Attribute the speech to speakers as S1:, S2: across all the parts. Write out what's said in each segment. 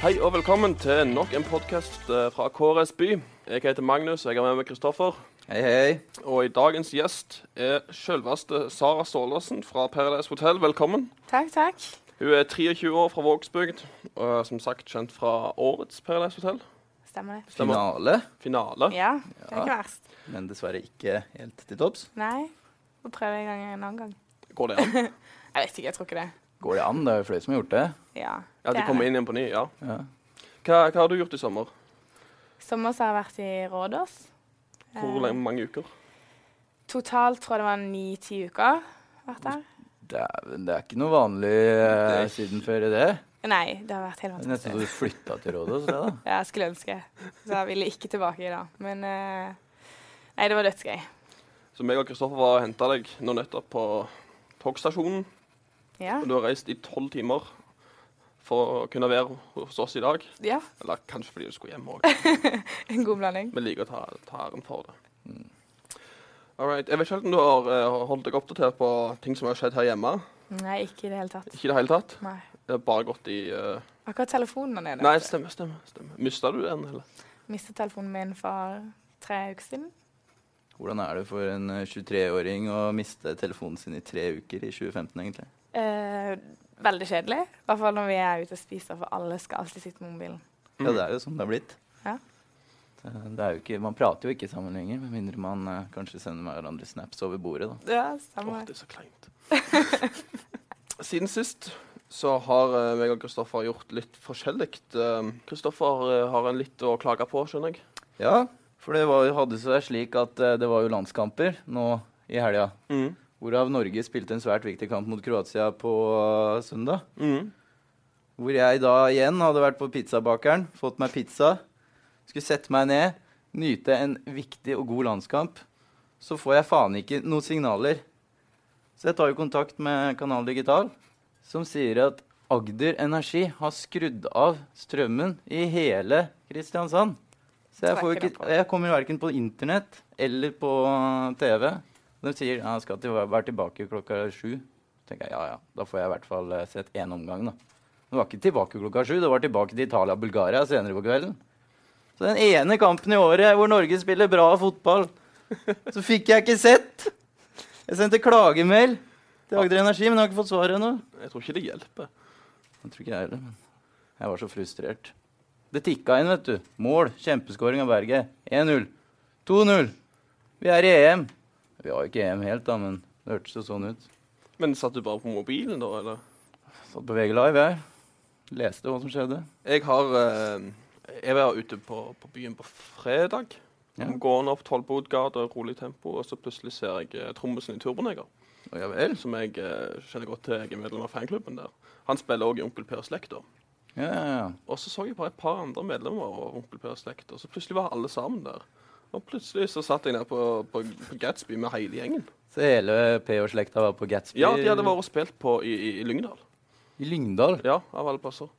S1: Hei og velkommen til nok en podkast fra KRS By. Jeg heter Magnus, jeg er med med Kristoffer.
S2: Hei, hei.
S1: Og i dagens gjest er selveste Sara Staalesen fra Paradise Hotel. Velkommen.
S3: Takk, takk.
S1: Hun er 23 år fra Vågsbygd, og er som sagt kjent fra årets Paradise Hotel.
S3: Stemmer det.
S1: Stemmer.
S2: Finale,
S1: Finale.
S3: Ja, det er ikke verst.
S2: men dessverre ikke helt til topps.
S3: Nei. Får prøve en gang en annen gang.
S1: Går det an?
S3: Jeg vet ikke, jeg tror ikke det.
S2: Går det an? Det er jo flere som har gjort det.
S3: Ja.
S1: Ja,
S3: det
S1: de
S3: er
S1: kommer
S3: det.
S1: inn igjen på ny, ja.
S2: Ja.
S1: Hva, hva har du gjort i sommer?
S3: Sommer så har jeg vært i Rådås.
S1: Hvor
S3: Eh,
S1: lenge, mange uker?
S3: Totalt tror jeg det var ni-ti uker vært der.
S2: Det, er, det er ikke noe vanlig eh,
S1: Det er-
S2: siden før i det.
S3: Nei, det har vært helt
S2: Det er nesten
S3: fantastisk.
S2: så du flytta til Rådås. det da.
S3: Ja, jeg skulle ønske. Så jeg ville ikke tilbake i dag. Men eh, nei, det var dødsgøy.
S1: Så meg og Kristoffer var og henta deg nå nettopp på togstasjonen.
S3: Ja.
S1: Og du har reist i tolv timer for å kunne være hos oss i dag.
S3: ja.
S1: Eller kanskje fordi du skulle hjem òg.
S3: En god blanding.
S1: Vi liker å ta, ta æren for det. All right. Jeg vet ikke helt om du har eh, holdt deg oppdatert på ting som har skjedd her hjemme.
S3: Nei, ikke i det hele tatt.
S1: Ikke i det hele tatt.
S3: Nei.
S1: Det har bare gått i eh,
S3: Akkurat telefonen er nede.
S1: Nei, stemmer, stemmer. stemmer. Mista du den, eller?
S3: Mistet telefonen min for tre uker siden.
S2: Hvordan er det for en eh, 23-åring å miste telefonen sin i tre uker i 2015, egentlig?
S3: Eh, veldig kjedelig. I hvert fall når vi er ute og spiser, for alle skal alltid sitte med mobilen.
S2: Ja, det er jo sånn det har blitt.
S3: Ja.
S2: Det det er jo ikke, man prater jo ikke sammen lenger, med mindre man eh, kanskje sender hverandre snaps over bordet. da.
S3: Ja,
S1: Åh,
S3: samme.
S1: det er så kleint. Siden sist så har eh, meg og Kristoffer gjort litt forskjellig. Kristoffer eh, har en litt å klage på, skjønner jeg.
S2: Ja, for det var, jo- hadde seg slik at eh, det var jo landskamper nå i helga. Hvorav Norge spilte en svært viktig kamp mot Kroatia på øh, søndag.
S1: Mhm.
S2: Hvor jeg da igjen hadde vært på pizzabakeren, fått meg pizza, skulle sette meg ned, nyte en viktig og god landskamp. Så får jeg faen ikke noen signaler. Så jeg tar jo kontakt med Kanal Digital, som sier at Agder Energi har skrudd av strømmen i hele Kristiansand. Så jeg, får jo
S3: Tverker
S2: ikke, jeg kommer jo verken på internett eller på øh, TV. De sier ja, skal til, være tilbake klokka sju. Så tenker jeg ja, ja, da får jeg i hvert fall eh, sett én omgang, da. Det var ikke tilbake klokka sju, det var tilbake til Italia og Bulgaria senere på kvelden. Så den ene kampen i året hvor Norge spiller bra fotball, så fikk jeg ikke sett. Jeg sendte klagemelding til Agder Energi, men jeg har ikke fått svar ennå.
S1: Jeg tror ikke det hjelper.
S2: Jeg tror ikke jeg heller, men jeg var så frustrert. Det tikka inn, vet du. Mål. Kjempeskåring av Berget. 1-0. 2-0. Vi er i EM. Vi har jo ikke EM helt, da, men det hørtes jo sånn ut.
S1: Men satt du bare på mobilen, da, eller?
S2: Satt på VG Live, jeg. Leste hva som skjedde.
S1: Jeg har eh, Jeg var ute på, på byen på fredag.
S2: Ja.
S1: Gående opp Tollbodgata i rolig tempo, og så plutselig ser jeg eh, trommisen i Turboneger.
S2: Å, ja vel.
S1: Som jeg eh, kjenner godt til. Jeg er medlem av fanklubben der. Han spiller òg i Onkel Pers slekt, da.
S2: Ja, ja, ja.
S1: Og så så jeg bare et par andre medlemmer av Onkel Pers slekt, og så plutselig var alle sammen der. Og plutselig så satt jeg nede på, på, på Gatsby med hele gjengen.
S2: Så hele PH-slekta var på Gatsby
S1: Ja, de hadde vært og spilt på i, i, i Lyngdal.
S2: i Lyngdal?
S1: Ja, av alle plasser.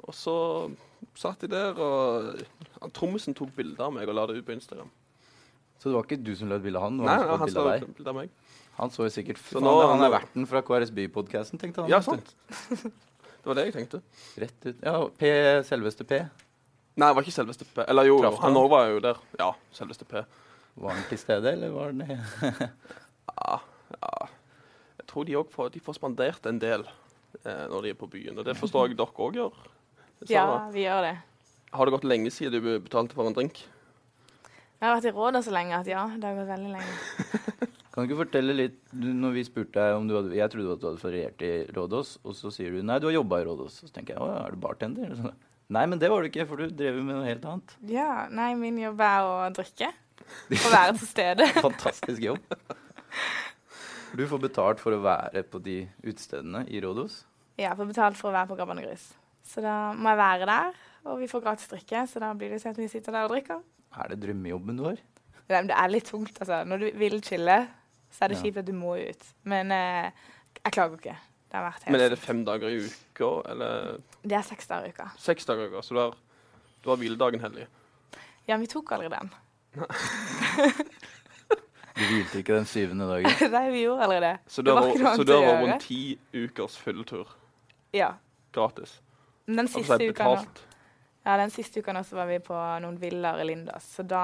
S1: Og så satt de der, og han Trommisen tok bilder av meg og la det ut på Instagram.
S2: Så det var ikke du som lød bilde av han? det
S1: Nei,
S2: var han,
S1: nei,
S2: som
S1: han
S2: lød bilde
S1: la
S2: av
S1: ut
S2: deg.
S1: bilde av meg.
S2: han så jo sikkert
S1: Så
S2: Faen,
S1: nå-
S2: han er
S1: nå-
S2: verten fra KRSB-podkasten, tenkte han.
S1: Ja, sånn.
S2: vet du.
S1: sant. Det var det jeg tenkte.
S2: Rett ut. Ja, P, selveste P.
S1: Nei, det var ikke selveste P. Eller jo,
S2: Traff
S1: han
S2: han?
S1: òg var jo der. Ja, selveste P.
S2: Var han til stede, eller var han
S1: Jeg tror de òg får, de får spandert en del eh, når de er på byen, og det forstår jeg dere òg gjør.
S3: Ja,
S1: Sara,
S3: vi gjør det.
S1: Har det gått lenge siden du betalte for en drink?
S3: Jeg har vært i Rådås så lenge at ja, det har gått veldig lenge.
S2: Kan du ikke fortelle litt du, Når vi spurte deg om du hadde Jeg trodde at du hadde feriert i Rådås, og så sier du nei, du har jobba i Rådås. Så tenker jeg å ja, er du bartender? Så, nei, men det var du ikke, for du drev jo med noe helt annet.
S3: Ja, nei, min jobb er å drikke. Å være til stede.
S2: Fantastisk jobb. Du får betalt for å være på de utestedene i Rådås.
S3: Ja, får betalt for å være på Grabban og Grus. Så da må jeg være der, og vi får gratis drikke, så da blir det sånn at vi sitter der og drikker.
S2: Er det drømmejobben du har?
S3: Nei, men det er litt tungt, altså. Når du vil chille, så er det
S2: Ja.
S3: kjipt at du må ut. Men eh, jeg klager ikke. Det har vært helt
S1: Men er det fem dager i uka, eller
S3: Det er seks dager i uka.
S1: seks dager i uka? Så du har, du har hviledagen hellig.
S3: Ja, vi tok aldri den.
S2: Du hvilte ikke den syvende dagen.
S3: Nei, vi gjorde aldri det.
S1: Så du
S3: Det
S1: har
S3: var ikke noe
S1: vært- så
S3: annet
S1: du
S3: å
S1: har vært
S3: gjøre.
S1: rundt ti ukers fylletur
S3: Ja.
S1: gratis.
S3: Men den
S1: Altså,
S3: siste
S1: jeg
S3: uka nå,
S1: betalt.
S3: ja, den siste uka nå så var vi på noen villaer i Lindås, så da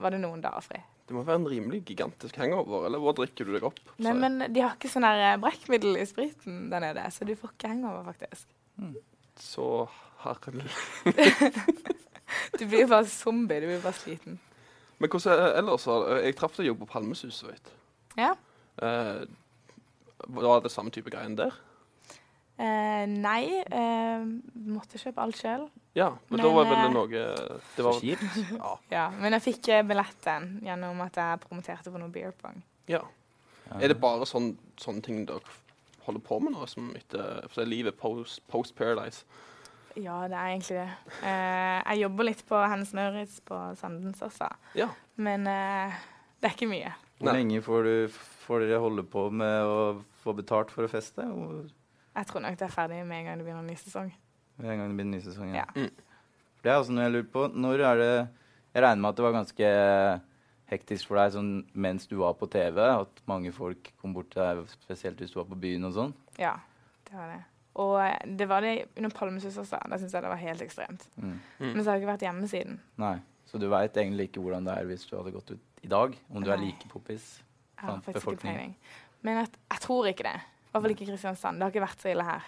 S3: var det noen dager fri.
S1: Det må være en rimelig gigantisk hangover, eller hvor drikker du deg opp?
S3: Nei,
S1: sier jeg.
S3: men de har ikke sånn her eh, brekkmiddel i spriten der nede, så du får ikke hangover, faktisk.
S1: Så herlig.
S3: Du blir jo bare zombie, du blir bare sliten.
S1: Men hvordan er det ellers? da? Jeg traff deg jo på Palmesus, vet
S3: Ja.
S1: Eh, Var det samme type greien der?
S3: Eh, nei, eh, måtte kjøpe alt sjøl.
S1: Ja, men, da
S3: Men,
S1: var vel det
S3: eh,
S1: noe det
S2: Så
S1: var,
S2: kjipt.
S1: ja,
S3: Ja, men jeg fikk eh, billetten gjennom at jeg promoterte på noe beer pong.
S1: ja. Er det bare sånn, sånne ting dere holder på med nå, som etter, for det er livet post, post Paradise?
S3: Ja, det er egentlig det. Eh, jeg jobber litt på Hennes Møritz på Sandens også,
S1: Ja.
S3: men eh, det er ikke mye.
S2: Hvor
S1: Nei.
S2: lenge får, du, får dere holde på med å få betalt for å feste? Hvor-
S3: Jeg tror nok det er ferdig med en gang det begynner en ny sesong.
S2: Med en gang det blir en ny sesong?
S3: Ja.
S1: Mm.
S2: For Det er også noe jeg lurer på. Når er det Jeg regner med at det var ganske hektisk for deg sånn mens du var på TV, at mange folk kom bort til deg, spesielt hvis du var på byen og sånn.
S3: Ja, det var det. Og eh, det var det under Palmesus også. Da syns jeg det var helt ekstremt.
S2: Mm.
S3: Men så har jeg ikke vært hjemme siden.
S2: Nei. Så du veit egentlig ikke hvordan det er hvis du hadde gått ut i dag, om du er
S3: Nei.
S2: like poppis.
S3: Jeg har
S2: Faen,
S3: faktisk ikke
S2: befolkningen.
S3: peiling. Men at, jeg tror ikke det. I hvert fall ikke i Kristiansand. Det har ikke vært så ille her.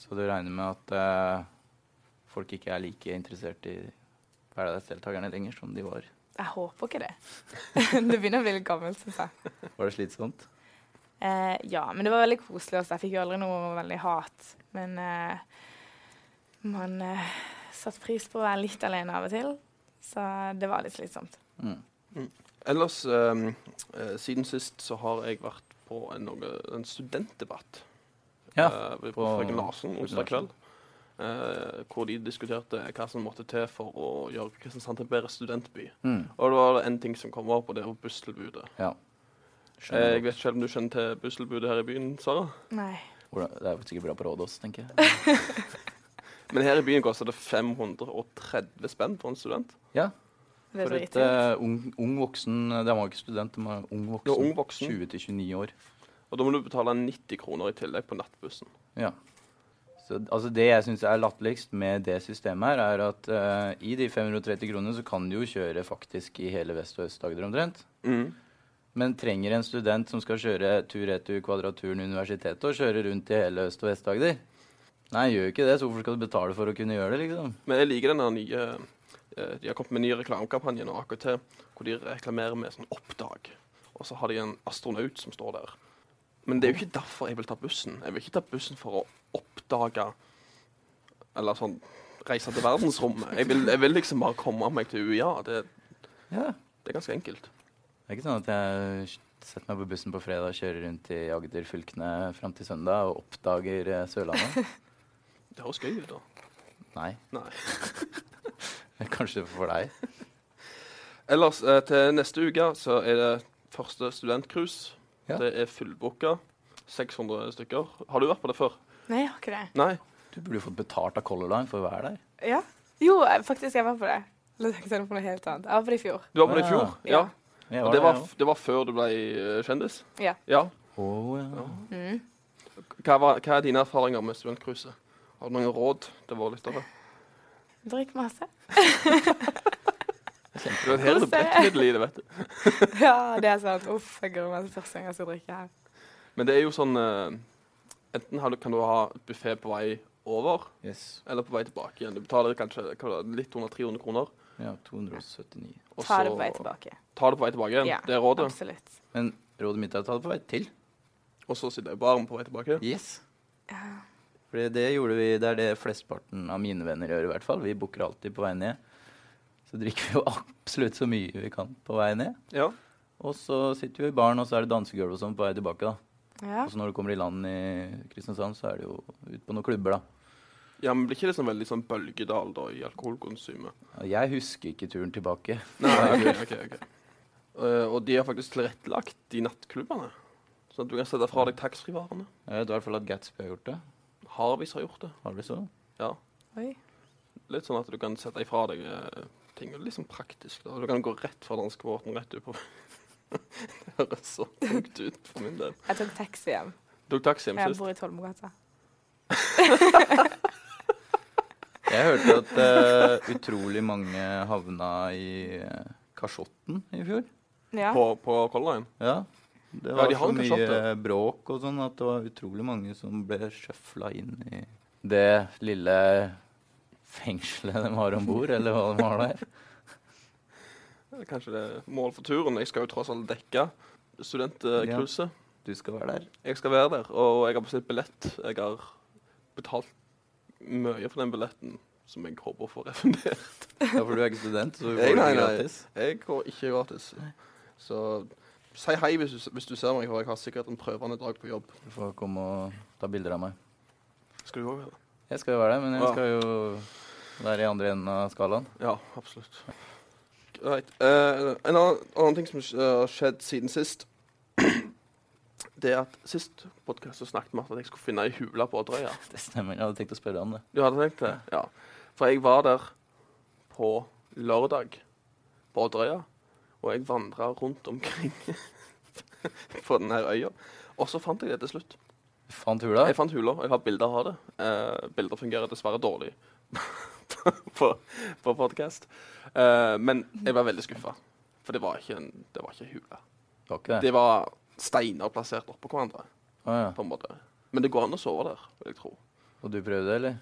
S2: Så du regner med at eh, folk ikke er like interessert i hverdagsdeltakerne lenger som de var.
S3: Jeg håper ikke det. det begynner å bli litt gammelt, syns jeg.
S2: Var det slitsomt?
S3: Eh, ja, men det var veldig koselig også. Jeg fikk jo aldri noe veldig hat. Men eh, man eh, satte pris på å være litt alene av og til, så det var litt slitsomt.
S2: Mm.
S1: Ellers, ehm, eh, siden sist så har jeg vært på en, noe, en studentdebatt
S2: Ja.
S1: eh, ved- på
S2: på-
S1: Frøken Larsen onsdag
S2: Larsen.
S1: kveld. eh, hvor de diskuterte hva som måtte til for å gjøre Kristiansand til en bedre studentby.
S2: Mm.
S1: Og det var en ting som kom opp, og det var busstilbudet.
S2: Ja.
S1: Eh,
S2: Skjønner
S1: Jeg vet ikke om du kjenner til busstilbudet her i byen, Sara?
S3: Nei.
S2: Hvordan, det er jo sikkert bra på Rådås, tenker jeg.
S1: Men her i byen koster det 530 spenn for en student.
S2: Ja,
S3: Det
S2: for
S3: er
S2: et
S3: dritdyrt.
S2: eh, ung, ung voksen eh, De var ikke student, de var ung voksen.
S1: Ja, ung voksen.
S2: 20 til 29 år.
S1: Og da må du betale 90 kroner i tillegg på nattbussen.
S2: Ja. Så altså, det jeg syns er latterligst med det systemet her, er at eh, i de 530 kronene så kan du jo kjøre faktisk i hele Vest- og Øst-Agder omtrent. Men trenger en student som skal kjøre tur-retur Kvadraturen universitetet og kjøre rundt i hele Øst- og Vest-Agder? Nei, gjør jo ikke det, så hvorfor skal du betale for å kunne gjøre det, liksom?
S1: Men jeg liker den der nye eh, De har kommet med en ny reklamekampanje nå, AKT, hvor de reklamerer med sånn oppdag. Og så har de en astronaut som står der. Men det er jo ikke derfor jeg vil ta bussen. Jeg vil ikke ta bussen for å oppdage Eller sånn reise til verdensrommet. Jeg vil, jeg vil liksom bare komme meg til UiA. Det,
S2: Ja.
S1: det er ganske enkelt.
S2: Det er ikke sånn at jeg setter meg på bussen på fredag, kjører rundt i Agder-fylkene fram til søndag og oppdager eh, Sørlandet.
S1: Det høres gøy ut, da.
S2: Nei.
S1: Nei.
S2: Kanskje for deg.
S1: Ellers, eh, til neste uke så er det første studentcruise.
S2: Ja.
S1: Det er fullbooka. 600 stykker. Har du vært på det før?
S3: Nei, jeg har ikke det.
S1: Nei?
S2: Du burde jo fått betalt av Color Line for å være der.
S3: Ja. Jo, eh, faktisk, jeg var på det. Eller tenkte jeg på noe helt annet. Jeg var på det i fjor.
S1: Du var på det i
S2: Ah.
S1: fjor?
S3: Ja.
S1: Ja.
S2: Jeg
S1: Og det var,
S2: der, jeg
S1: det var før du ble eh, kjendis?
S3: Ja.
S1: ja.
S2: også. Å, ja.
S3: Mm.
S1: Hva, var, hva er dine erfaringer med studentcruiset? Har du noen råd til våre lyttere?
S3: Drikk masse.
S1: Det er hele
S3: Kos deg.
S1: brekkmiddel i det, vet du.
S3: Ja, det er sant. Uff, jeg gruer meg til første gang jeg skal drikke her.
S1: Men det er jo sånn eh, Enten har du, kan du ha buffé på vei over
S2: Yes.
S1: eller på vei tilbake igjen. Du betaler kanskje hva var det, litt under 300 kroner.
S2: Ja, 279.
S1: Og
S3: Ta det
S1: så-
S3: på vei tilbake.
S1: Ta det på vei tilbake igjen.
S3: Ja,
S1: Det er rådet.
S3: Absolutt.
S2: Men rådet mitt er å ta det på vei til.
S1: Og så sitter jeg i baren på vei tilbake.
S2: Yes. Fordi det gjorde vi, det er det flesteparten av mine venner gjør i hvert fall. Vi booker alltid på vei ned. Så drikker vi jo absolutt så mye vi kan på vei ned.
S1: Ja.
S2: Og så sitter vi i baren, og så er det dansegulv og sånn på vei tilbake. da.
S3: Ja.
S2: Og så når du kommer i land i Kristiansand, så er det jo ut på noen klubber, da.
S1: ja, men blir ikke det sånn veldig sånn bølgedal da i alkoholkonsumet?
S2: Ja, Jeg husker ikke turen tilbake.
S1: Nei, ok, ok, ok. Eh, og de har faktisk tilrettelagt de nattklubbene, sånn at du kan sette fra deg taxfree-varene.
S2: Jeg vet i hvert fall at Gatsby har gjort det.
S1: Harvis har gjort det.
S2: Har du så?
S1: Ja.
S3: Oi.
S1: Litt sånn at du kan sette ifra deg eh, ting. og Liksom praktisk. da. Du kan gå rett fra danskebåten rett ut på Det høres så tungt ut for min del.
S3: Jeg tok taxi hjem.
S1: Tok taxi hjem
S3: Jeg
S1: sist.
S3: bor i Tolmogata.
S2: Jeg hørte at eh, utrolig mange havna i eh, kasjotten i fjor.
S3: Ja.
S1: På, på Color Line.
S2: Ja. Det
S1: Ja,
S2: var
S1: de har
S2: så
S1: en
S2: mye
S1: kasjott, ja.
S2: bråk og sånn at det var utrolig mange som ble sjøfla inn i det lille fengselet de har om bord, eller hva de har der.
S1: Kanskje det er mål for turen. Jeg skal jo tross alt dekke studentcruiset.
S2: Du skal være der.
S1: Jeg skal være der, og jeg har bestilt billett. Jeg har betalt mye for den billetten, som jeg håper å få refundert.
S2: Ja, for du er ikke student, så du
S1: Nei,
S2: får det
S1: nei, nei.
S2: gratis.
S1: Jeg går ikke gratis. Så si hei hvis du, hvis du ser meg, for jeg har sikkert en prøvende dag på jobb.
S2: Du får komme og ta bilder av meg.
S1: Skal du òg være det?
S2: Jeg skal jo være der, men jeg
S1: Ja.
S2: skal jo være i andre enden av skalaen.
S1: Ja, absolutt. Greit. Eh, en annen, annen ting som eh, har skjedd siden sist, det er at sist podkast snakket vi om at jeg skulle finne ei hule på Odderøya.
S2: Det stemmer. Jeg hadde tenkt å spørre om det.
S1: Du hadde tenkt det? Ja. For jeg var der på lørdag på Odderøya, og jeg vandra rundt omkring på denne øya. Og så fant jeg det til slutt.
S2: Du Fant hula?
S1: Jeg fant hula, og jeg har bilder av det. Eh, bilder fungerer dessverre dårlig på, på podkast. Eh, men jeg var veldig skuffa, for det var ikke en det var ikke en hule.
S2: Det var ikke det.
S1: Det var steiner plassert oppå hverandre,
S2: Å, ja.
S1: på en måte. Men det går an å sove der, vil jeg tro.
S2: Og du prøvde, eller?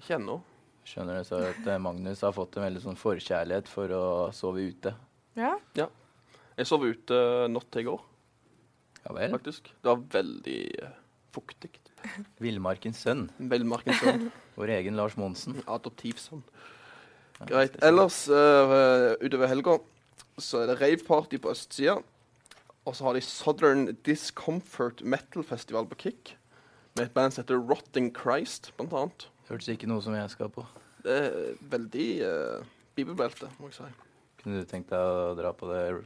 S1: Ikke ennå.
S2: Skjønner du så at eh, Magnus har fått en veldig sånn forkjærlighet for å sove ute?
S3: ja.
S1: Jeg sov ute natt til i går,
S2: Ja vel.
S1: faktisk. Det var veldig eh, fuktig.
S2: Villmarkens sønn.
S1: Velmarkens sønn.
S2: Vår egen Lars Monsen.
S1: Adoptivsønn.
S2: Ja,
S1: sånn. Greit.
S2: spesielt.
S1: Ellers, eh, utover helga, så er det raveparty på østsida. Og så har de Southern Discomfort Metal Festival på Kick. Med et band som heter Rotting Christ, blant annet.
S2: Hørtes ikke noe som jeg skal på.
S1: Det er veldig eh, bibelbelte, må jeg si.
S2: Kunne du tenkt deg å dra på det r-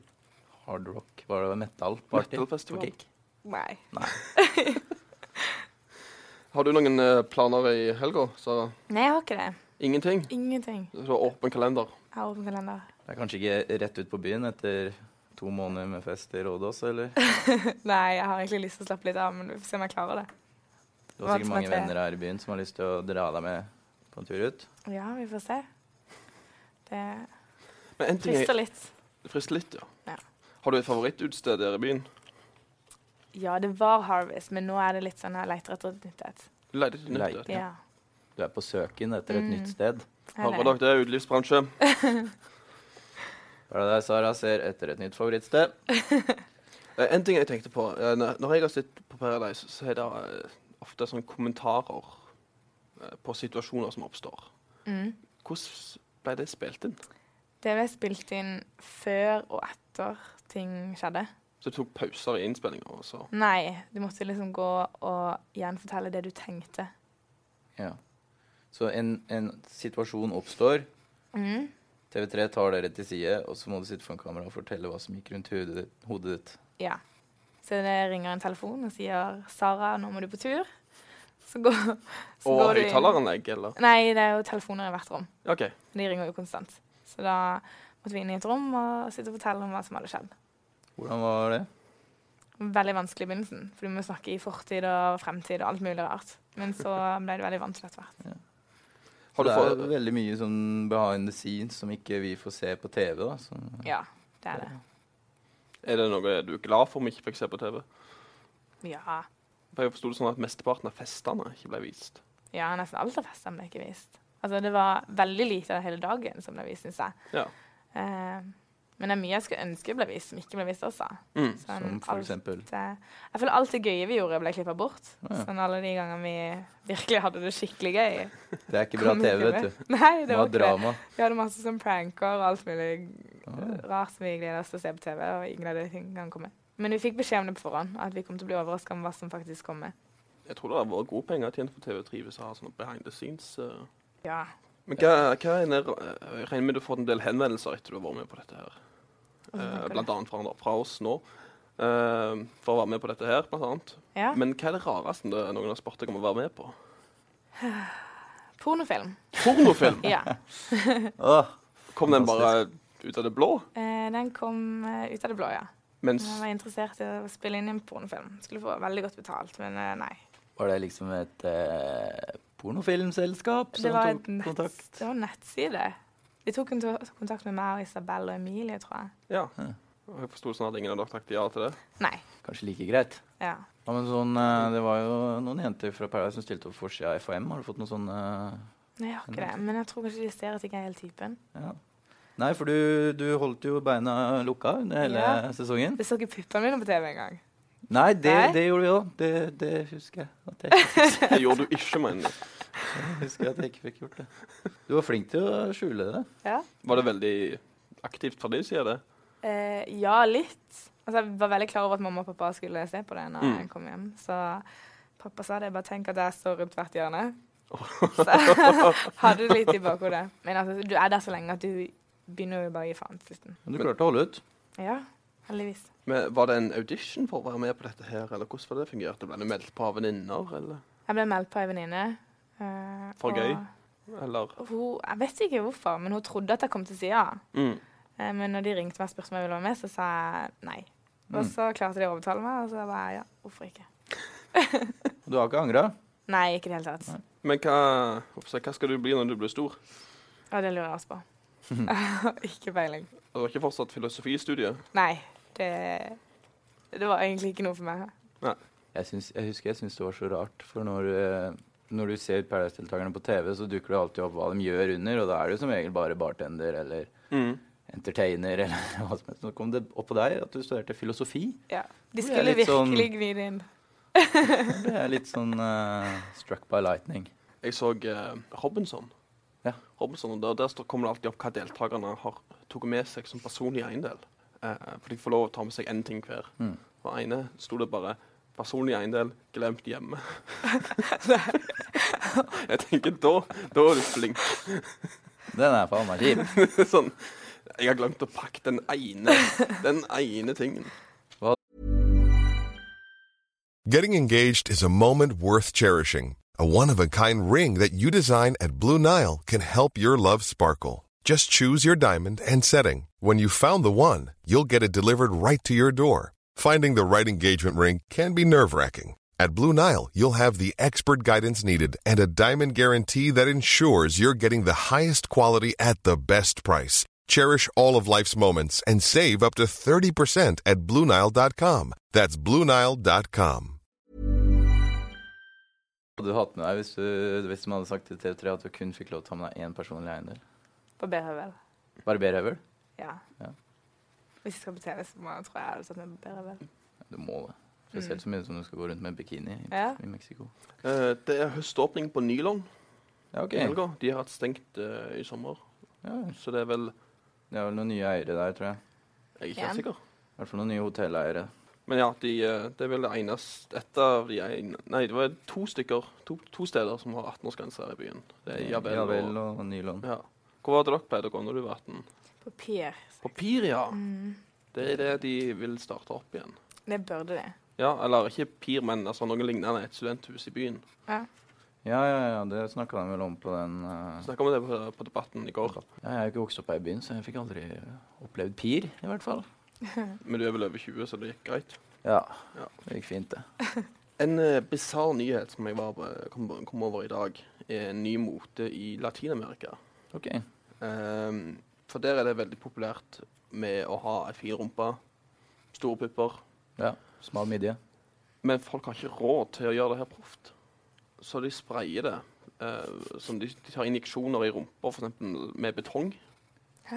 S2: hard rock Var det metal party?
S1: Metalfestival.
S2: På Kick?
S3: Nei.
S1: Har du noen eh, planer i helga, Sara?
S3: Nei, jeg har ikke det.
S1: Ingenting?
S3: Ingenting.
S1: Så åpen kalender.
S3: Jeg har åpen kalender.
S2: Det er kanskje ikke rett ut på byen etter to måneder med fest i Rådås, eller?
S3: Nei, jeg har egentlig lyst til å slappe litt av, men vi får se om jeg klarer det.
S2: Du har sikkert
S3: Hva
S2: mange
S3: som er tre?
S2: venner her i byen som har lyst til å dra deg med på en tur ut.
S3: Ja, vi får se. Det
S1: Men en ting er
S3: frister litt.
S1: Frist litt, ja.
S3: Ja.
S1: Har du et favorittutsted der i byen?
S3: Ja, det var Harvest, men nå er det litt sånn jeg leter etter et nytt eh, et.
S1: Du leter etter nytt.
S2: Leter.
S1: vet du.
S3: Ja.
S2: Du er på søken etter et
S3: Mm.
S2: nytt sted.
S3: jeg er
S1: Hører
S3: det.
S1: dere det, utelivsbransje?
S2: Hva er det der Sara ser etter et nytt favorittsted?
S1: Eh, En ting jeg tenkte på. eh, når- Når jeg har sett på Paradise, så er det eh, ofte sånne kommentarer eh, på situasjoner som oppstår.
S3: Mm.
S1: Hvordan ble det spilt inn?
S3: Det ble spilt inn før og etter ting skjedde.
S1: Så du tok pauser i innspillinga, og så
S3: Nei, du måtte liksom gå og gjenfortelle det du tenkte.
S2: Ja. Så en, en situasjon oppstår.
S3: Mm.
S2: TV3 tar dere til side, og så må du sitte foran kamera og fortelle hva som gikk rundt hodet, ditt- hodet ditt.
S3: Ja. Så det ringer en telefon og sier 'Sara, nå må du på tur'. Så går, så
S1: Og
S3: går du inn.
S1: høyttaleranlegg, eller?
S3: Nei, det er jo telefoner i hvert rom.
S1: OK.
S3: Men de ringer jo konstant. Så da måtte vi inn i et rom og sitte og fortelle om hva som hadde skjedd.
S2: Hvordan var det?
S3: Veldig vanskelig i begynnelsen, for du må snakke i fortid og fremtid og alt mulig rart. Men så ble det veldig vanskelig etter hvert.
S1: Har du
S2: det er
S1: fått
S2: veldig mye sånn behind the scenes som ikke vi får se på TV. da. Så,
S3: Ja, det er det.
S1: Er det noe du er glad for om ikke fikk se på TV?
S3: Ja.
S1: For Jeg forsto det sånn at mesteparten av festene ikke ble vist.
S3: Ja, nesten alt av festene ble ikke vist. Altså, det var veldig lite av hele dagen som ble vist, syns jeg.
S1: Ja.
S3: Eh, men det er mye jeg skulle ønske ble vist, som ikke ble vist også.
S1: Mm.
S3: Sånn,
S2: som for eksempel.
S3: alt, eh, jeg føler alt det gøye vi gjorde, ble klippa bort.
S2: Å, ja.
S3: Sånn alle de gangene vi virkelig hadde det skikkelig gøy.
S2: Det er ikke bra
S3: kom
S2: TV,
S3: ikke
S2: vet
S3: med.
S2: du.
S3: Nei,
S2: Det
S3: det
S2: var
S3: var ikke det.
S2: drama.
S3: Vi hadde masse sånn pranker og alt mulig
S2: Å,
S3: rart som vi gleder oss til å se på TV, og ingen av de tingene kan komme. Men vi fikk beskjed om det på forhånd, at vi kom til å bli overraska om hva som faktisk kommer.
S1: Jeg tror det har vært gode penger tjent på TV3 hvis jeg har sånne behind the scenes. eh.
S3: Ja.
S1: Men hva, hva er nær- eh, jeg regner med du har fått en del henvendelser etter du har vært med på dette her.
S3: og så
S1: Eh,
S3: tenker
S1: blant
S3: du.
S1: annet fra, fra oss nå. eh, for å være med på dette her, blant annet.
S3: Ja.
S1: Men hva er det rareste det- noen har spurt deg om å være med på?
S3: Pornofilm.
S1: Pornofilm!
S3: Ja.
S2: Åh,
S1: Kom den bare ut av det blå?
S3: Eh, den kom eh, ut av det blå, ja.
S1: Mens
S3: Jeg var interessert i å spille inn en pornofilm. Skulle få veldig godt betalt, men eh, nei.
S2: var det liksom et eh, pornofilmselskap
S3: Det
S2: som
S3: var,
S2: tok
S3: et nett,
S2: kontakt.
S3: det var en nettside. De tok konto- kontakt med meg og Isabel og Emilie, tror jeg.
S1: Ja.
S2: Ja.
S1: Og jeg forsto det sånn at ingen av dere takket ja til det.
S3: Nei.
S2: Kanskje like greit.
S3: Ja.
S2: Ja, men sånn, eh, det var jo noen jenter fra Paradise som stilte opp for sida av FHM. Har du fått noen sånne
S3: Nei, jeg har ikke det. Men jeg tror kanskje de ser at jeg ikke er helt typen.
S2: ja. Nei, for du, du holdt jo beina lukka under hele
S3: Ja.
S2: sesongen.
S3: Det så ikke puppene mine på TV engang.
S2: Nei, det,
S3: Nei?
S2: det gjorde vi òg. Det, det husker jeg. At jeg,
S1: Det gjorde du ikke, men
S2: husker jeg at jeg ikke fikk gjort det. Du var flink til å skjule det.
S3: Ja.
S1: var det veldig aktivt fra din side, det?
S3: Eh, ja, litt. Altså, jeg var veldig klar over at mamma og pappa skulle se på det når
S1: Mm.
S3: jeg kom hjem. Så pappa sa det. Bare tenk at jeg står rundt hvert hjørne.
S1: Åh.
S3: Så hadde det litt i bakhodet. Men altså, du er der så lenge at du begynner jo bare å gi faen til slutten.
S2: Men du
S1: Men-
S2: klarte å holde ut.
S3: Ja, heldigvis.
S1: Men var det en audition for å være med på dette her, eller hvordan var det fungerte? Ble du meldt på av venninner, eller?
S3: Jeg ble meldt på ei venninne. eh,
S1: For
S3: og
S1: gøy? eller?
S3: Hun, jeg vet ikke hvorfor, men hun trodde at jeg kom til å si ja.
S1: Mm.
S3: Eh, men når de ringte meg og spurte om jeg ville være med, så sa jeg nei. Og
S2: Mm.
S3: så klarte de å overtale meg, og så var jeg ja, hvorfor ikke?
S2: Du har ikke angra?
S3: Nei, ikke i det hele tatt.
S2: Nei.
S1: Men hva, hoppsa, hva skal du bli når du blir stor?
S3: Og det lurer jeg også på. ikke peiling.
S1: Du har ikke fortsatt filosofistudiet?
S3: Nei, det, det var egentlig ikke noe for meg.
S2: Jeg, syns- jeg husker jeg syns det var så rart, for når, eh, når du ser Paradise-deltakerne på TV, så dukker det alltid opp hva de gjør under, og da er det jo som regel bare bartender eller
S1: Mm.
S2: entertainer eller hva som helst. Nå kom det opp på deg at du studerte filosofi.
S3: Ja. De
S2: Nå er jeg
S3: skulle
S2: litt sånn-
S3: virkelig gni det inn.
S2: Da ble jeg litt sånn eh, struck by lightning.
S1: Jeg så eh, Robinson.
S2: Ja.
S1: Robinson, og Der, der står- kommer det alltid opp hva deltakerne har tok med seg som personlig eiendel. Eh, for de får lov å ta med seg én ting hver.
S2: Mm.
S1: Og ene sto det bare 'personlig eiendel glemt hjemme'. jeg tenker da, da er du flink.
S2: Den er faen meg kjip.
S1: sånn, jeg har glemt å pakke den ene, den ene tingen.
S4: Getting engaged is a moment worth cherishing. A one of a kind ring that you design at Blue Nile can help your love sparkle. Just choose your diamond and setting. When you've found the one, you'll get it delivered right to your door. Finding the right engagement ring can be nerve wracking. At Blue Nile, you'll have the expert guidance needed and a diamond guarantee that ensures you're getting the highest quality at the best price. Cherish all of life's moments and save up to 30% at BlueNile.com. That's BlueNile.com.
S2: Hadde du hatt med deg hvis, du, hvis de hadde sagt til TV3 at du kun fikk lov til å ta med deg én personlig eiendel?
S3: På Berhøvel.
S2: Barberhøvel?
S3: Ja.
S2: Ja.
S3: Hvis jeg skal på TV, så må jeg, tror jeg jeg hadde tatt med på Berhøvel.
S2: Du må Mm. det. Spesielt så mye som du skal gå rundt med bikini i,
S3: Mm. Ja.
S2: i Mexico.
S1: Eh, det er høståpning på Nylon
S2: Ja, OK.
S1: i helga. De har hatt stengt eh, i sommer,
S2: Ja,
S1: så det er vel
S2: det er vel noen nye eiere der, tror jeg.
S1: Jeg er ikke helt
S3: Ja.
S1: sikker.
S2: I hvert fall noen nye hotelleiere.
S1: Men ja, de, eh, det er vel det eneste Et av de en, Nei, det var to stykker, to, to steder som har 18-årsgrense her i byen. Det er Javel, og,
S2: Eh, og Nylon.
S1: ja. Hvor var det dere pleide å gå når du var 18?
S3: På Pier.
S1: På Piria. Det er det de vil starte opp igjen.
S3: Mm. Det burde de.
S1: Ja, eller ikke Pir, men altså noe lignende. Et studenthus i byen.
S3: Ja.
S2: Ja, ja, ja, det snakka de vel om på den eh,
S1: Snakka om det på, på Debatten i går.
S2: ja, Jeg er jo ikke vokst opp her i byen, så jeg fikk aldri eh, opplevd pir, i hvert fall.
S1: Men du er vel over 20, så det gikk greit.
S2: Ja,
S1: Ja.
S2: det gikk fint, det.
S1: En uh, bisarr nyhet som jeg var, på- kom, kom over i dag, er en ny mote i Latin-Amerika.
S2: OK.
S1: Ehm, for der er det veldig populært med å ha ei fin rumpe, store pupper.
S2: Ja. Smal midje.
S1: Men folk har ikke råd til å gjøre det her proft. Så de sprayer det. eh, som de, de tar injeksjoner i rumpa, f.eks. med betong.
S3: Hæ?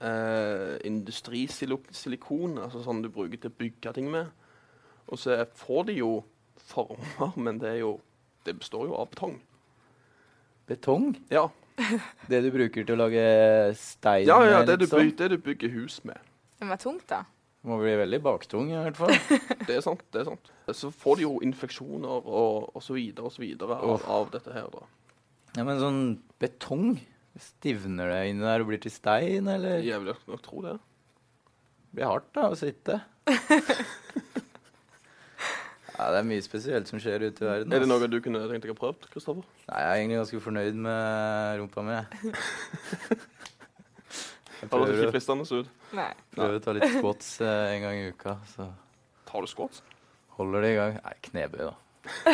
S1: Eh, industrisilikon, altså sånn du bruker til å bygge ting med. Og så er- får de jo former, men det er jo Det består jo av betong.
S2: Betong?
S1: Ja,
S2: Det du bruker til å lage stein
S1: ja, ja
S2: med,
S1: det, du
S2: liksom.
S1: bygger, det du bygger hus med.
S3: Det var tungt, da.
S2: Må bli veldig baktung, i hvert fall.
S1: Det er sant. det er sant. Så får de jo infeksjoner og, og så videre og så videre av,
S2: Uff.
S1: av dette her, da.
S2: Ja, Men sånn betong? Stivner det inni der og blir til stein, eller?
S1: Jeg vil nok tro det.
S2: Det blir hardt da, å sitte. ja, det er mye spesielt som skjer ute i verden.
S1: Er det
S2: ass.
S1: noe du kunne tenkt deg å prøve, Kristoffer?
S2: Nei, jeg er egentlig ganske fornøyd med rumpa mi. jeg. Jeg
S1: Det høres
S2: prøver,
S1: ikke
S2: å-
S1: fristende ut.
S3: Nei.
S2: prøver å ta litt squats eh, en gang i uka, så
S1: Tar du squats?
S2: holder det i gang. Nei, knebøy, da.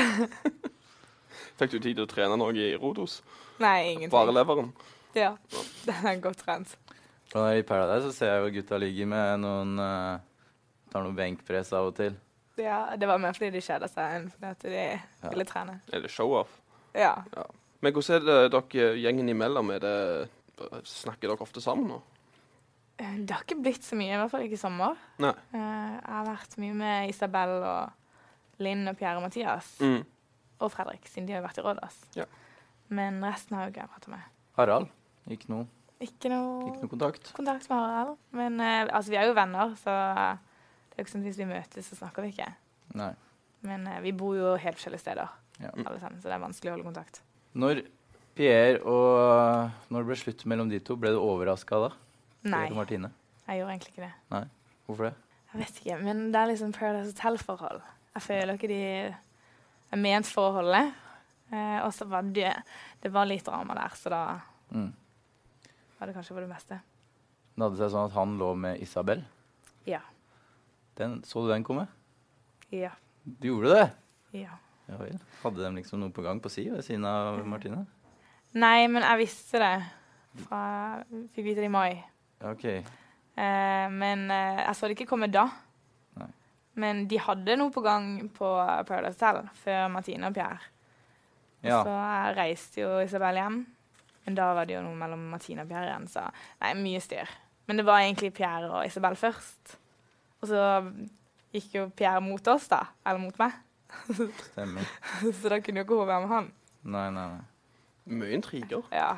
S1: Fikk du tid til å trene noe i Rodos?
S3: Nei, ingenting.
S1: Bare leveren?
S3: Ja, den er godt trent.
S2: Og I Paradise så ser jeg jo gutta ligger med noen eh, Tar noen benkpress av og til.
S3: Ja, det var mer fordi de kjeda seg enn fordi at de ville trene.
S1: Er det show-off?
S3: Ja.
S1: Men hvordan er det dere gjengen imellom? Er det, snakker dere ofte sammen nå?
S3: Eh, Det har ikke blitt så mye, i hvert fall ikke i sommer.
S1: Nei.
S3: Eh, Jeg har vært mye med Isabel og Linn og Pierre og Mathias.
S1: Mm.
S3: Og Fredrik, siden de har jo vært i Rådås.
S1: Ja.
S3: Men resten har jo ikke jeg prata med.
S2: Harald? Ikke noe,
S3: Ikke noe,
S2: ikke noe kontakt.
S3: kontakt med Harald. Men eh, altså, vi er jo venner, så eh, det er jo ikke sånn at hvis vi møtes, så snakker vi ikke.
S2: Nei.
S3: Men eh, vi bor jo helt forskjellige steder,
S2: Ja.
S3: alle sammen, så det er vanskelig å holde kontakt.
S2: Når Pierre og Når det ble slutt mellom de to, ble du overraska da?
S3: Nei,
S2: Pierre og Martine?
S3: jeg gjorde egentlig ikke det.
S2: Hvorfor det?
S3: Jeg vet ikke, men det er liksom Paradise Hotel-forhold. Jeg føler ikke de er ment for å holde. Eh, og så var det Det var litt drama der, så da
S2: Mm.
S3: var det kanskje for det meste.
S2: Det hadde seg sånn at han lå med Isabel.
S3: Ja.
S2: Den, så du den komme?
S3: Ja.
S2: Du gjorde det?
S3: ja.
S2: Ja vel. Hadde de liksom noe på gang på si ved siden av Martine?
S3: Nei, men jeg visste det. Fra, fikk vite det i mai.
S2: Ja, OK.
S3: Eh, men eh, jeg så det ikke komme da.
S2: Nei.
S3: Men de hadde noe på gang på Paradise Hotel før Martine og Pierre.
S2: Ja.
S3: Så jeg reiste jo Isabel hjem. Men da var det jo noe mellom Martine og Pierre igjen, så nei, mye styr. Men det var egentlig Pierre og Isabel først. Og så gikk jo Pierre mot oss, da. Eller mot meg.
S2: Stemmer.
S3: så da kunne jo ikke hun være med han.
S2: Nei, nei, nei.
S1: Mye intriger.
S3: Ja,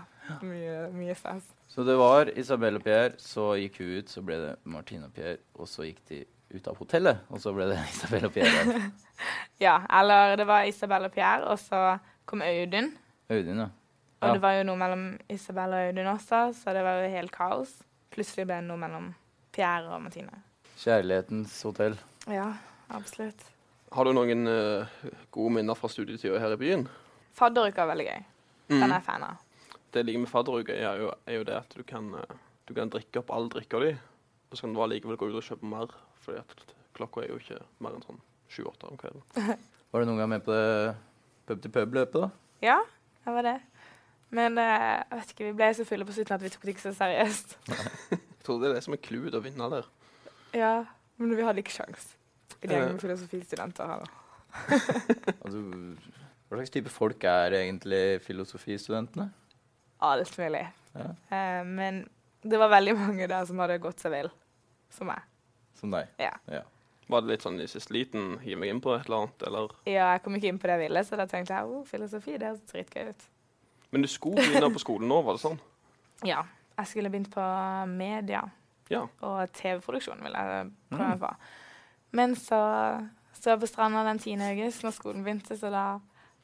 S3: mye, mye stress.
S2: Så det var Isabel og Pierre, så gikk hun ut, så ble det Martine og Pierre, og så gikk de ut av hotellet, og så ble det Isabel og Pierre igjen.
S3: Ja, eller det var Isabel og Pierre, og så kom Audun.
S2: Audun, ja.
S3: Og
S2: Ja.
S3: det var jo noe mellom Isabel og Audun også, så det var jo helt kaos. Plutselig ble det noe mellom Pierre og Martine.
S2: Kjærlighetens hotell.
S3: Ja, absolutt.
S1: Har du noen eh, gode minner fra studietida her i byen?
S3: Fadderuka er veldig gøy. Den er jeg fan av.
S1: Det jeg liker med fadderuke, er, jo- er jo det at du kan, eh, du kan drikke opp all drikka di, og så kan du allikevel gå ut og kjøpe mer, fordi at klokka er jo ikke mer enn sånn sju-åtte om kvelden.
S2: Var du noen gang med på det pub-til-pub-løpet, da?
S3: Ja, det var det. Men eh, jeg vet ikke, vi ble så fulle på slutten at vi tok det ikke så seriøst.
S1: Jeg tror det er det som er clouet til å vinne der.
S3: Ja, men vi hadde ikke sjans. I det
S1: Eh.
S3: med filosofistudenter heller.
S2: Altså, hva slags type folk er egentlig filosofistudentene?
S3: Alt mulig.
S2: Ja.
S3: Eh, men det var veldig mange der som hadde gått seg vill, som meg.
S2: Som deg?
S3: Ja.
S2: ja.
S1: Var det litt sånn i siste liten, hiv meg inn på et eller annet, eller
S3: Ja, jeg kom ikke inn på det jeg ville, så da tenkte jeg oh, filosofi, det høres dritgøy ut.
S1: Men du skulle begynne på skolen nå, var det sånn?
S3: Ja. Jeg skulle begynt på media
S1: Ja.
S3: og TV-produksjon, ville jeg
S2: Mm.
S3: prøve meg på. Men så sto jeg på stranda den 10. august når skolen begynte, så da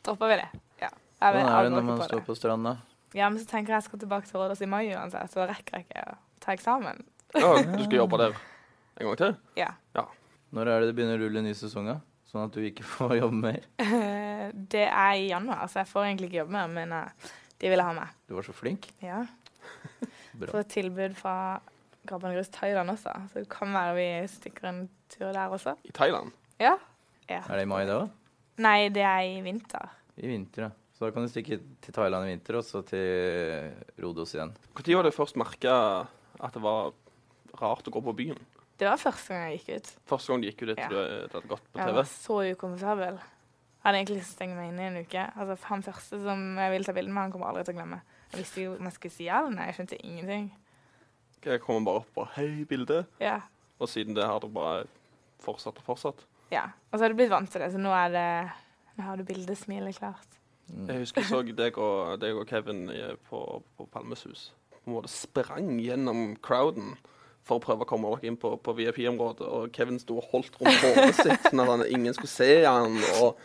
S3: droppa vi det. Ja. Jeg vil
S2: Sånn er det
S3: aldri
S2: når man
S3: på
S2: står
S3: det.
S2: på stranda.
S3: Ja, men så tenker jeg jeg skal tilbake til Rådås i mai uansett, så da rekker jeg ikke å ta eksamen.
S1: ja du skal jobbe der en gang til?
S3: Ja.
S2: Når er det det begynner å rulle ny sesong, da? Sånn at du ikke får jobbe mer?
S3: Eh, Det er i januar, så jeg får egentlig ikke jobbe mer, men eh, de ville ha meg.
S2: Du var så flink.
S3: Ja.
S2: Bra.
S3: Får et tilbud fra Garbangrus Thailand også, så det kan være vi stikker en tur der også.
S1: I Thailand?
S3: Ja. ja.
S2: Er det i mai, det òg?
S3: Nei, det er i vinter.
S2: I vinter, ja. Så da kan du stikke til Thailand i vinter, og så til Rodos igjen.
S1: Når var det først merka at det var rart å gå på byen?
S3: Det var første gang jeg gikk ut.
S1: Første gang du gikk ut etter
S3: Ja.
S1: du det hadde gått på
S3: Jeg
S1: TV?
S3: var så ukomfortabel. Jeg hadde egentlig lyst til å stenge meg inne i en uke. Altså, Han første som jeg ville ta bilde med, han kommer aldri til å glemme. Jeg visste jo om jeg skulle si ja eller nei. Jeg skjønte ingenting.
S1: Jeg kommer bare opp og 'hei, bilde',
S3: Ja.
S1: og siden det har det bare fortsatt og fortsatt.
S3: ja. Og så har du blitt vant til det, så nå er det Nå har du bildesmilet klart.
S2: Mm.
S3: Eh,
S1: Jeg husker jeg så deg og, deg og Kevin i- på, på Palmes hus. På en måte sprang gjennom crowden for å prøve å komme dere inn på, på VIP-området. Og Kevin sto og holdt rundt håret sitt sånn at han, ingen skulle se han. Og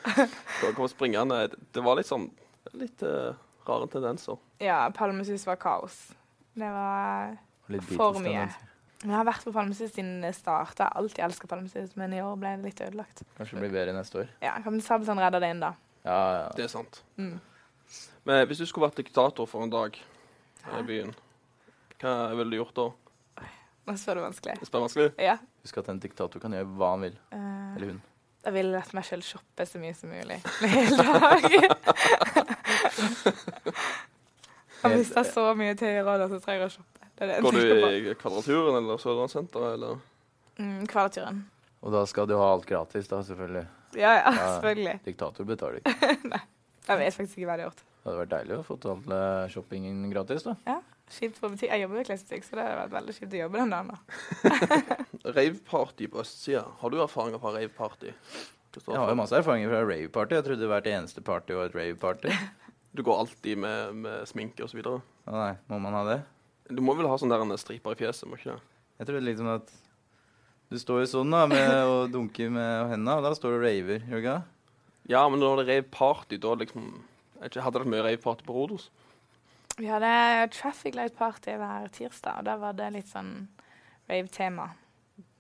S1: dere kom springende. Det var litt sånn litt eh, rare tendenser.
S3: Ja, Palmesus var kaos. Det var
S2: Litt altså.
S3: For
S2: Beatles-tendens.
S3: mye. Men jeg har vært på Palmesus siden det starta. Jeg har alltid elska Palmesus, men i år ble det litt ødelagt.
S2: Kanskje det blir bedre neste år.
S3: Ja, Kaptein Sabeltann redda det inn, da.
S2: Ja, ja.
S1: Det er sant.
S3: Mm.
S1: Men hvis du skulle vært diktator for en dag her i byen, hva ville du gjort da?
S3: Nå spør du vanskelig.
S1: Spør vanskelig.
S3: Ja.
S2: Husk at en diktator kan gjøre hva han vil.
S3: eh,
S2: Eller hun.
S3: Jeg vil la meg sjøl shoppe så mye som mulig en hel dag. Jeg mista så mye tøy i rådet, så trenger jeg å shoppe. Det er det jeg
S1: Går
S3: tenker på.
S1: du i Kvadraturen eller Sørlandssenteret, eller?
S3: Mm, Kvadraturen.
S2: Og da skal du ha alt gratis, da, selvfølgelig.
S3: Ja, ja,
S2: Ja.
S3: selvfølgelig.
S2: Diktator betaler ikke.
S3: Jeg vet faktisk ikke hva jeg har gjort.
S2: Det hadde vært deilig å få all eh, shoppingen gratis, da.
S3: Kjipt på butikk. Jeg jobber i klesbutikk, så det har vært veldig kjipt å jobbe den dagen. da.
S1: Raveparty på østsida. Har du erfaringer fra raveparty?
S2: Jeg har jo masse erfaringer fra rave-party. Jeg trodde hvert eneste party var et rave-party.
S1: Du går alltid med, med sminke og så videre.
S2: Å nei, må man ha det?
S1: Du må vel ha sånn der en striper i fjeset, må ikke det?
S2: Jeg trodde liksom at du står jo sånn da, med å dunke med hendene, og da står du og raver, gjør du ikke det?
S1: Ja, men når det er raveparty, da liksom jeg vet ikke, Hadde dere mye raveparty på Rodos?
S3: Vi hadde traffic light party hver tirsdag, og da var det litt sånn rave-tema.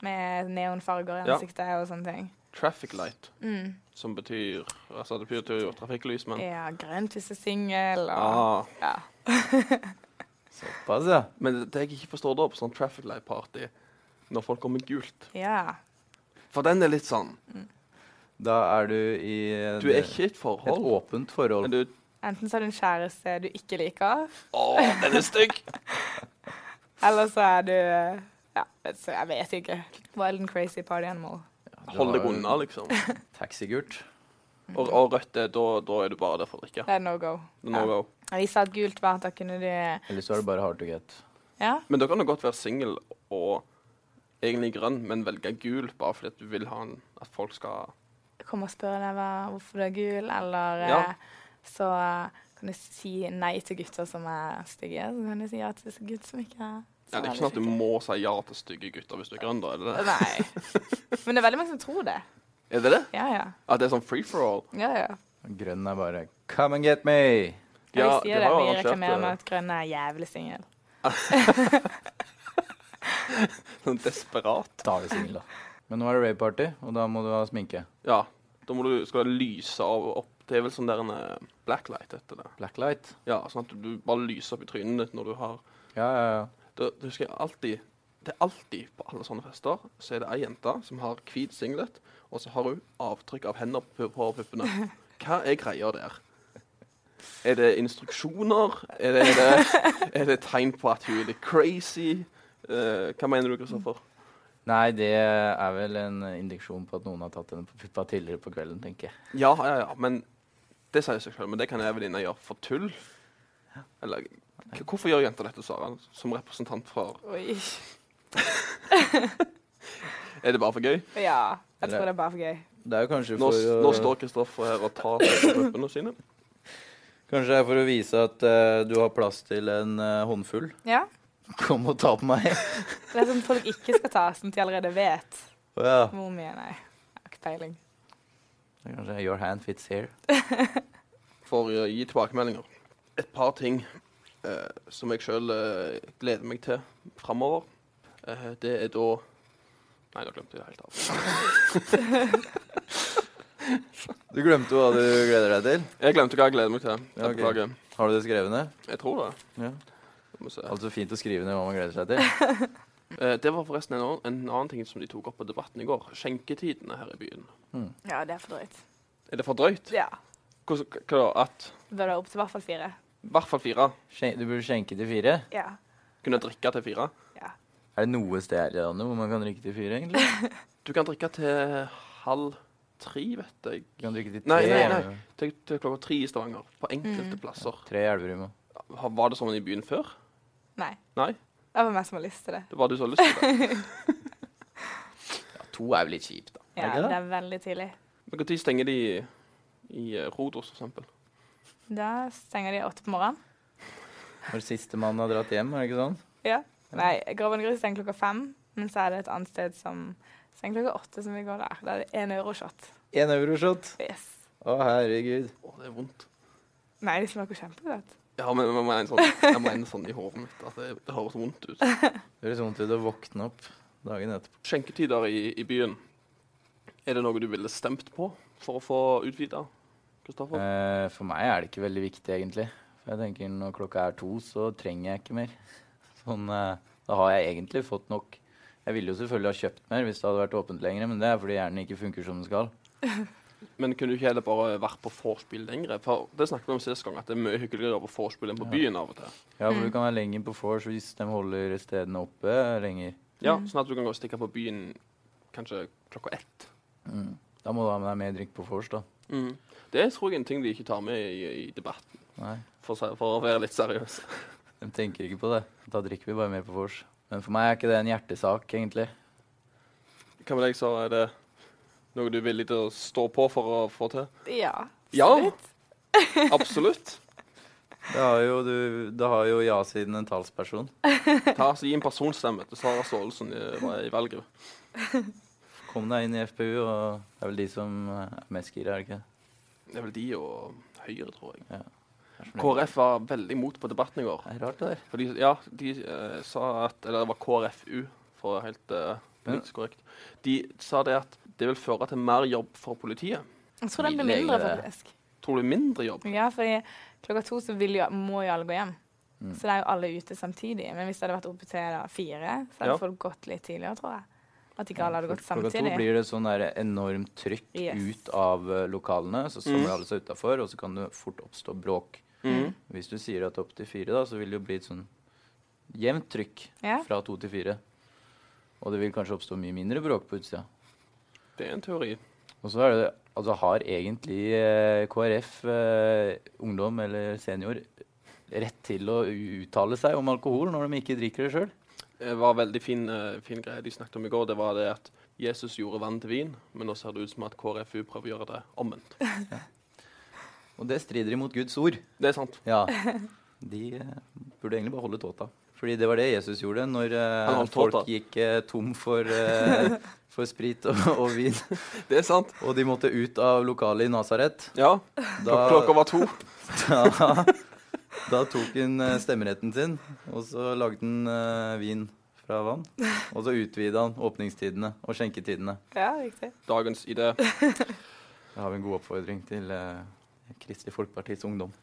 S3: Med neonfarger i
S1: Ja.
S3: ansiktet og sånne ting.
S1: Traffic light,
S3: Mm.
S1: som betyr Altså, det betyr jo trafikklys, men
S3: Ja, grønt hvis du er singel, og
S1: ah.
S3: ja.
S2: Såpass, ja.
S1: Men det- det jeg ikke forstår da, på sånn traffic light-party, når folk går med gult
S3: ja.
S1: For den er litt sånn
S2: Da er du i eh,
S1: Du er
S2: det-
S1: ikke i et
S2: et
S1: forhold.
S2: åpent
S1: Men
S2: forhold.
S1: du
S3: Enten så er du en kjæreste du ikke liker,
S1: Å, den er stygg!
S3: eller så er du eh, Ja, vet- så jeg vet ikke. Wild and crazy party animal.
S1: Hold deg unna, liksom.
S2: Taxigult.
S1: Og, og rødt, er, da, da er du bare der for å drikke.
S3: Det er no go.
S1: Det er no go.
S3: Jeg visste at gult var at da kunne du
S2: Eller så er det bare hard to get.
S3: Ja.
S1: Men da kan du godt være singel og egentlig grønn, men velge gul bare fordi at du vil ha en, at folk skal
S3: Kom og spør deg hva, hvorfor du er gul, eller
S1: Ja.
S3: eh, så eh, kan du si nei til gutter som er stygge. Så kan du si ja til gutter som ikke er
S1: ja, Det er ikke sånn at du må si ja til stygge gutter hvis du er grønn, da. Er det det?
S3: Nei. Men det er veldig mange som tror det.
S1: Er det det?
S3: Ja, ja.
S1: At det er sånn free for all?
S3: ja, ja.
S2: Grønn er bare Come and get me!
S3: Ja,
S1: Ja,
S3: vi sier
S1: de har
S3: det.
S1: jo
S3: Vi
S1: arrangert,
S3: reklamerer med
S1: eh,
S3: at grønn er jævlig singel.
S1: Sånn desperat.
S2: Da er du singel, da. Men nå er det rave-party, og da må du ha sminke.
S1: Ja. Da må du, skal du lyse av opp. Det er vel sånn der en eh, blacklight heter det.
S2: Blacklight.
S1: Ja, sånn at du bare lyser opp i trynet ditt når du har
S2: Ja, ja, ja.
S1: Da da husker jeg alltid Det er alltid på alle sånne fester så er det ei jente som har hvit singlet, og så har hun avtrykk av hender på, på puppene. Hva er greia der? Er det instruksjoner? Er det, er det, er det tegn på at hun er litt crazy? Eh, hva mener du, Kristoffer?
S2: Nei, det er vel en indiksjon på at noen har tatt henne på puppa tidligere på kvelden, tenker jeg.
S1: Ja, ja, ja, men det sier seg selv, men det kan jeg venninne gjøre for tull. Eller k- hvorfor gjør jenter dette, Sara, som representant for
S3: Oi.
S1: Er det bare for gøy?
S3: Ja. Jeg tror det er bare for gøy.
S2: Det er jo kanskje
S1: Nå,
S2: for,
S1: s-
S2: å,
S1: nå står Kristoffer her og tar seg på puppene sine.
S2: kanskje det er for å vise at eh, du har plass til en eh, håndfull.
S3: Ja.
S2: Kom og ta på meg.
S3: Det er sånn folk ikke skal ta, sånn at de allerede vet
S2: Å ja.
S3: hvor mye. Nei, jeg har ikke peiling.
S2: Det er Kanskje your hand fits here.
S1: for å gi tilbakemeldinger. Et par ting eh, som jeg sjøl eh, gleder meg til framover. Eh, det er da Nei, nå glemte jeg det helt av.
S2: Du glemte hva du gleder deg til.
S1: Jeg glemte hva jeg gleder meg til. Jeg
S2: Ja, ok.
S1: beklager.
S2: Har du det skrevet ned?
S1: Jeg tror det.
S2: Ja.
S1: Skal vi se.
S2: Altså fint å skrive ned hva man gleder seg til.
S1: Eh, det var forresten en annen, en annen ting som de tok opp på debatten i går. Skjenketidene her i byen.
S2: Hmm.
S3: Ja, det er for drøyt.
S1: Er det for drøyt?
S3: Ja.
S1: Hvordan- Hva, hva da? At
S3: Bør det være opp til i hvert fall fire.
S1: i hvert fall fire
S2: Skjen- Du burde skjenke til fire.
S3: Ja.
S1: kunne drikke til fire.
S3: ja.
S2: Er det noe sted her i landet hvor man kan drikke til fire, egentlig?
S1: Du kan drikke til halv tre, vet jeg.
S2: Du kan drikke til tre,
S1: Nei, nei,
S2: eller
S1: nei. Til, til klokka tre i Stavanger. På enkelte plasser.
S2: tre i Elverum. og-
S1: Ha- Var det sånn i byen før?
S3: Nei.
S1: Nei?
S3: Det var meg som har lyst til det.
S1: Det var du som hadde lyst til det.
S2: Ja, to er jo litt kjipt, da.
S3: Ja,
S2: Er det ikke det?
S3: det er veldig tidlig.
S1: Men Når stenger de i, i eh, Rodos, for eksempel?
S3: Da stenger de åtte på morgenen.
S2: Når sistemann har dratt hjem, er det ikke sånn?
S3: Ja. Nei, Graven Grus stenger klokka fem, men så er det et annet sted som stenger klokka åtte, som vi går der. Da er det én euroshot.
S2: Én euroshot.
S3: Yes.
S2: Å, herregud.
S1: Å, det er vondt.
S3: Nei, de smaker kjempegodt.
S1: Ja, men jeg mener sånn, jeg mener sånn i hodet mitt at det, det høres vondt ut.
S2: Det høres vondt ut å våkne opp dagen etterpå.
S1: Skjenketider i, i byen. Er det noe du ville stemt på for å få utvida, Kristoffer?
S2: Eh, for meg er det ikke veldig viktig, egentlig. For jeg tenker når klokka er to, så trenger jeg ikke mer. Sånn, eh, da har jeg egentlig fått nok. Jeg ville jo selvfølgelig ha kjøpt mer hvis det hadde vært åpent lenger, men det er fordi hjernen ikke funker som den skal.
S1: Men kunne du ikke heller bare vært på vorspiel lenger? For det snakket vi om sist gang, at det er mye hyggeligere på vorspiel enn på
S2: Ja.
S1: byen av og til.
S2: Ja, for
S3: Mm.
S2: du kan være lenger på vors hvis de holder stedene oppe eh, lenger.
S1: Ja,
S3: Mm.
S1: Sånn at du kan gå og stikke på byen kanskje klokka ett.
S2: Mm. Da må du ha med deg mer drikk på vors, da.
S1: Det tror jeg er en ting de ikke tar med i, i debatten,
S2: Nei,
S1: for, å si- for å være litt seriøs.
S2: de tenker ikke på det. Da drikker vi bare mer på vors. Men for meg er ikke det en hjertesak, egentlig.
S1: Hva med deg, så er det noe du er villig til å stå på for å få til?
S3: Ja.
S1: Ja.
S3: absolutt.
S1: Absolutt.
S2: Det har jo, du, det har jo ja-siden en talsperson.
S1: Ta, så Gi en personstemme til Sara Staalesen i, i valget.
S2: Kom deg inn i FPU, og det er vel de som eh, er mest gira, er det ikke?
S1: Det er vel de og Høyre, tror jeg.
S2: Det er så mye-
S1: KrF var veldig imot på debatten i går.
S2: Det er rart, det der.
S1: For de, ja, de eh, sa at Eller det var KrFU, for å være helt eh, politisk korrekt. De sa det at det vil føre til mer jobb for politiet.
S3: Jeg tror den blir
S2: Legger
S3: mindre,
S2: det-
S3: faktisk.
S1: Tror du mindre jobb?
S3: Ja, for i- klokka to så vil jo, må jo alle gå hjem.
S2: Mm.
S3: Så det er jo alle ute samtidig. Men hvis det hadde vært oppe til da, fire, så hadde
S1: Ja.
S3: folk gått litt tidligere, tror jeg. At ikke alle hadde gått
S2: Klokka to
S3: samtidig.
S2: blir det sånn der enormt trykk
S3: Yes.
S2: ut av eh, lokalene, så samler
S1: Mm.
S2: alle seg utafor, og så kan det fort oppstå bråk.
S1: Mhm.
S2: Hvis du sier at opp til fire, da, så vil det jo bli et sånn jevnt trykk
S3: Ja.
S2: fra to til fire. Og det vil kanskje oppstå mye mindre bråk på utsida.
S1: Det er en teori.
S2: Og så er det, altså har egentlig eh, KrF, eh, ungdom eller senior, rett til å u- uttale seg om alkohol når de ikke drikker det sjøl?
S1: Det var veldig fin, eh, fin greie de snakket om i går. Det var det at Jesus gjorde vann til vin, men nå ser det ut som at KrFU prøver å gjøre det omvendt.
S2: Og det strider imot Guds ord.
S1: Det er sant.
S2: Ja. De eh, burde egentlig bare holde tåta. Fordi det var det Jesus gjorde når eh,
S1: Han holdt
S2: folk
S1: tåta.
S2: gikk eh, tom for, eh, for sprit og, og vin,
S1: Det er sant.
S2: og de måtte ut av lokalet i Nasaret.
S1: Ja.
S2: Da-
S1: Klokka var to.
S2: Da, da tok hun eh, stemmeretten sin, og så lagde hun eh, vin fra vann. Og så utvida han åpningstidene og skjenketidene.
S3: Ja, riktig.
S1: Dagens idé.
S2: Da har vi en god oppfordring til eh, Kristelig Folkepartis ungdom.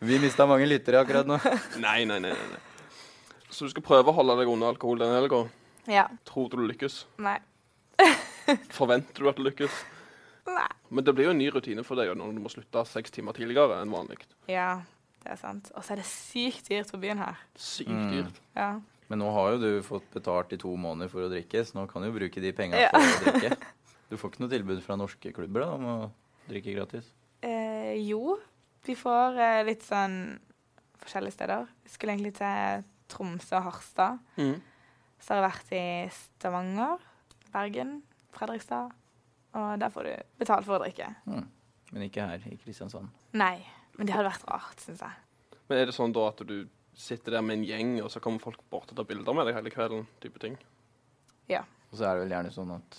S2: Vi mista mange lyttere akkurat nå.
S1: Nei, nei, nei. nei, nei. Så du skal prøve å holde deg unna alkohol denne helga.
S3: Ja.
S1: Tror du du lykkes?
S3: Nei.
S1: Forventer du at du lykkes?
S3: Nei.
S1: Men det blir jo en ny rutine for deg når du må slutte seks timer tidligere enn vanlig.
S3: Ja, det er sant. Og så er det sykt dyrt på byen her.
S1: Sykt
S2: Mm.
S1: dyrt.
S3: Ja.
S2: Men nå har jo du fått betalt i to måneder for å drikke, så nå kan du jo bruke de penga
S3: Ja.
S2: på å drikke. Du får ikke noe tilbud fra norske klubber da, om å drikke gratis?
S3: Eh, jo, vi får eh, litt sånn forskjellige steder. Vi skulle egentlig til Tromsø og Harstad.
S1: Mm.
S3: Så har jeg vært i Stavanger, Bergen, Fredrikstad. Og der får du betalt for å drikke.
S2: Men ikke her i Kristiansand.
S3: Nei, men det hadde vært rart, syns jeg.
S1: Men er det sånn da at du sitter der med en gjeng, og så kommer folk bort og tar bilder med deg hele kvelden? type ting?
S2: Og så er det vel gjerne sånn at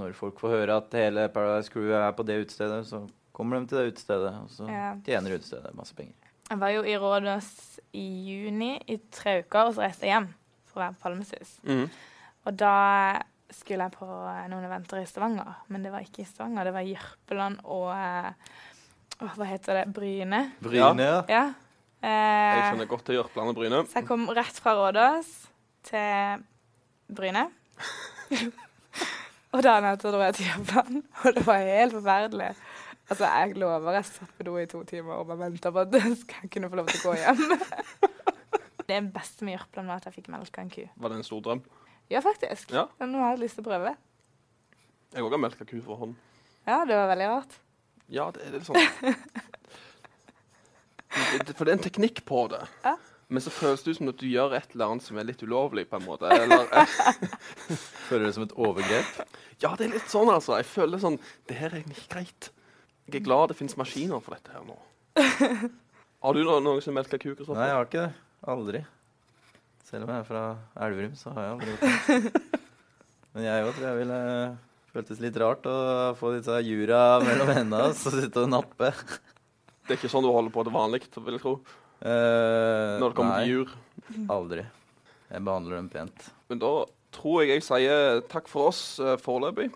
S2: når folk får høre at hele Paradise Crew er på det utestedet, så kommer de til det utestedet, og så
S3: Ja.
S2: tjener utestedet masse penger.
S3: Jeg var jo i Rådås i juni i tre uker, og så reiste jeg hjem for å være på Palmesus.
S1: Mm.
S3: Og da skulle jeg på eh, noen eventer i Stavanger, men det var ikke i Stavanger. Det var i Jørpeland og eh, åh, Hva heter det? Bryne.
S1: Bryne,
S2: ja.
S3: Ja.
S1: Jeg
S3: Eh,
S1: skjønner godt til Jørpeland og Bryne.
S3: Så jeg kom rett fra Rådås til Bryne. og dagen etter dro jeg til Japan, og det var helt forferdelig. Altså, jeg lover, jeg satt på do i to timer og bare venta på at jeg skal kunne få lov til å gå hjem. det beste med Jørpeland var at jeg fikk melka en ku.
S1: Var det en stor drøm?
S3: Ja, faktisk.
S1: Ja.
S3: Men Nå har jeg lyst til å prøve.
S1: Jeg òg har melka ku for hånd.
S3: Ja, det var veldig rart.
S1: Ja, det er litt sånn. Det- det- For det er en teknikk på det.
S3: Ja.
S1: Men så føles det ut som at du gjør et eller annet som er litt ulovlig, på en måte. Eller, eh,
S2: Føler det som et overgrep.
S1: ja, det er litt sånn, altså. Jeg føler sånn Det her er egentlig ikke greit. Jeg er glad det finnes maskiner for dette her nå. Har du noen, noen som melka ku? Kristoffer?
S2: Nei, jeg har ikke det. Aldri. Selv om jeg er fra Elverum, så har jeg aldri gjort det. Men jeg òg tror jeg ville eh, føltes litt rart å få disse jura mellom hendene og så sitte og nappe.
S1: Det er ikke sånn du holder på til vanlig, vil jeg tro.
S2: Eh,
S1: Når det kommer
S2: nei,
S1: til jur.
S2: Aldri. Jeg behandler dem pent.
S1: Men da tror jeg jeg sier takk for oss eh, foreløpig.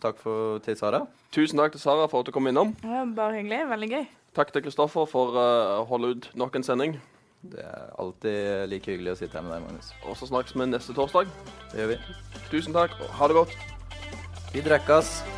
S2: Takk for, til Sara.
S1: Tusen takk til Sara for at du kom innom.
S3: Det var bare hyggelig. Veldig gøy.
S1: Takk til Kristoffer for eh, å holde ut nok en sending.
S2: Det er alltid like hyggelig å sitte her med deg, Magnus.
S1: Og så snakkes vi neste torsdag.
S2: Det gjør vi.
S1: Tusen takk, og ha det godt.
S2: Vi drekkas.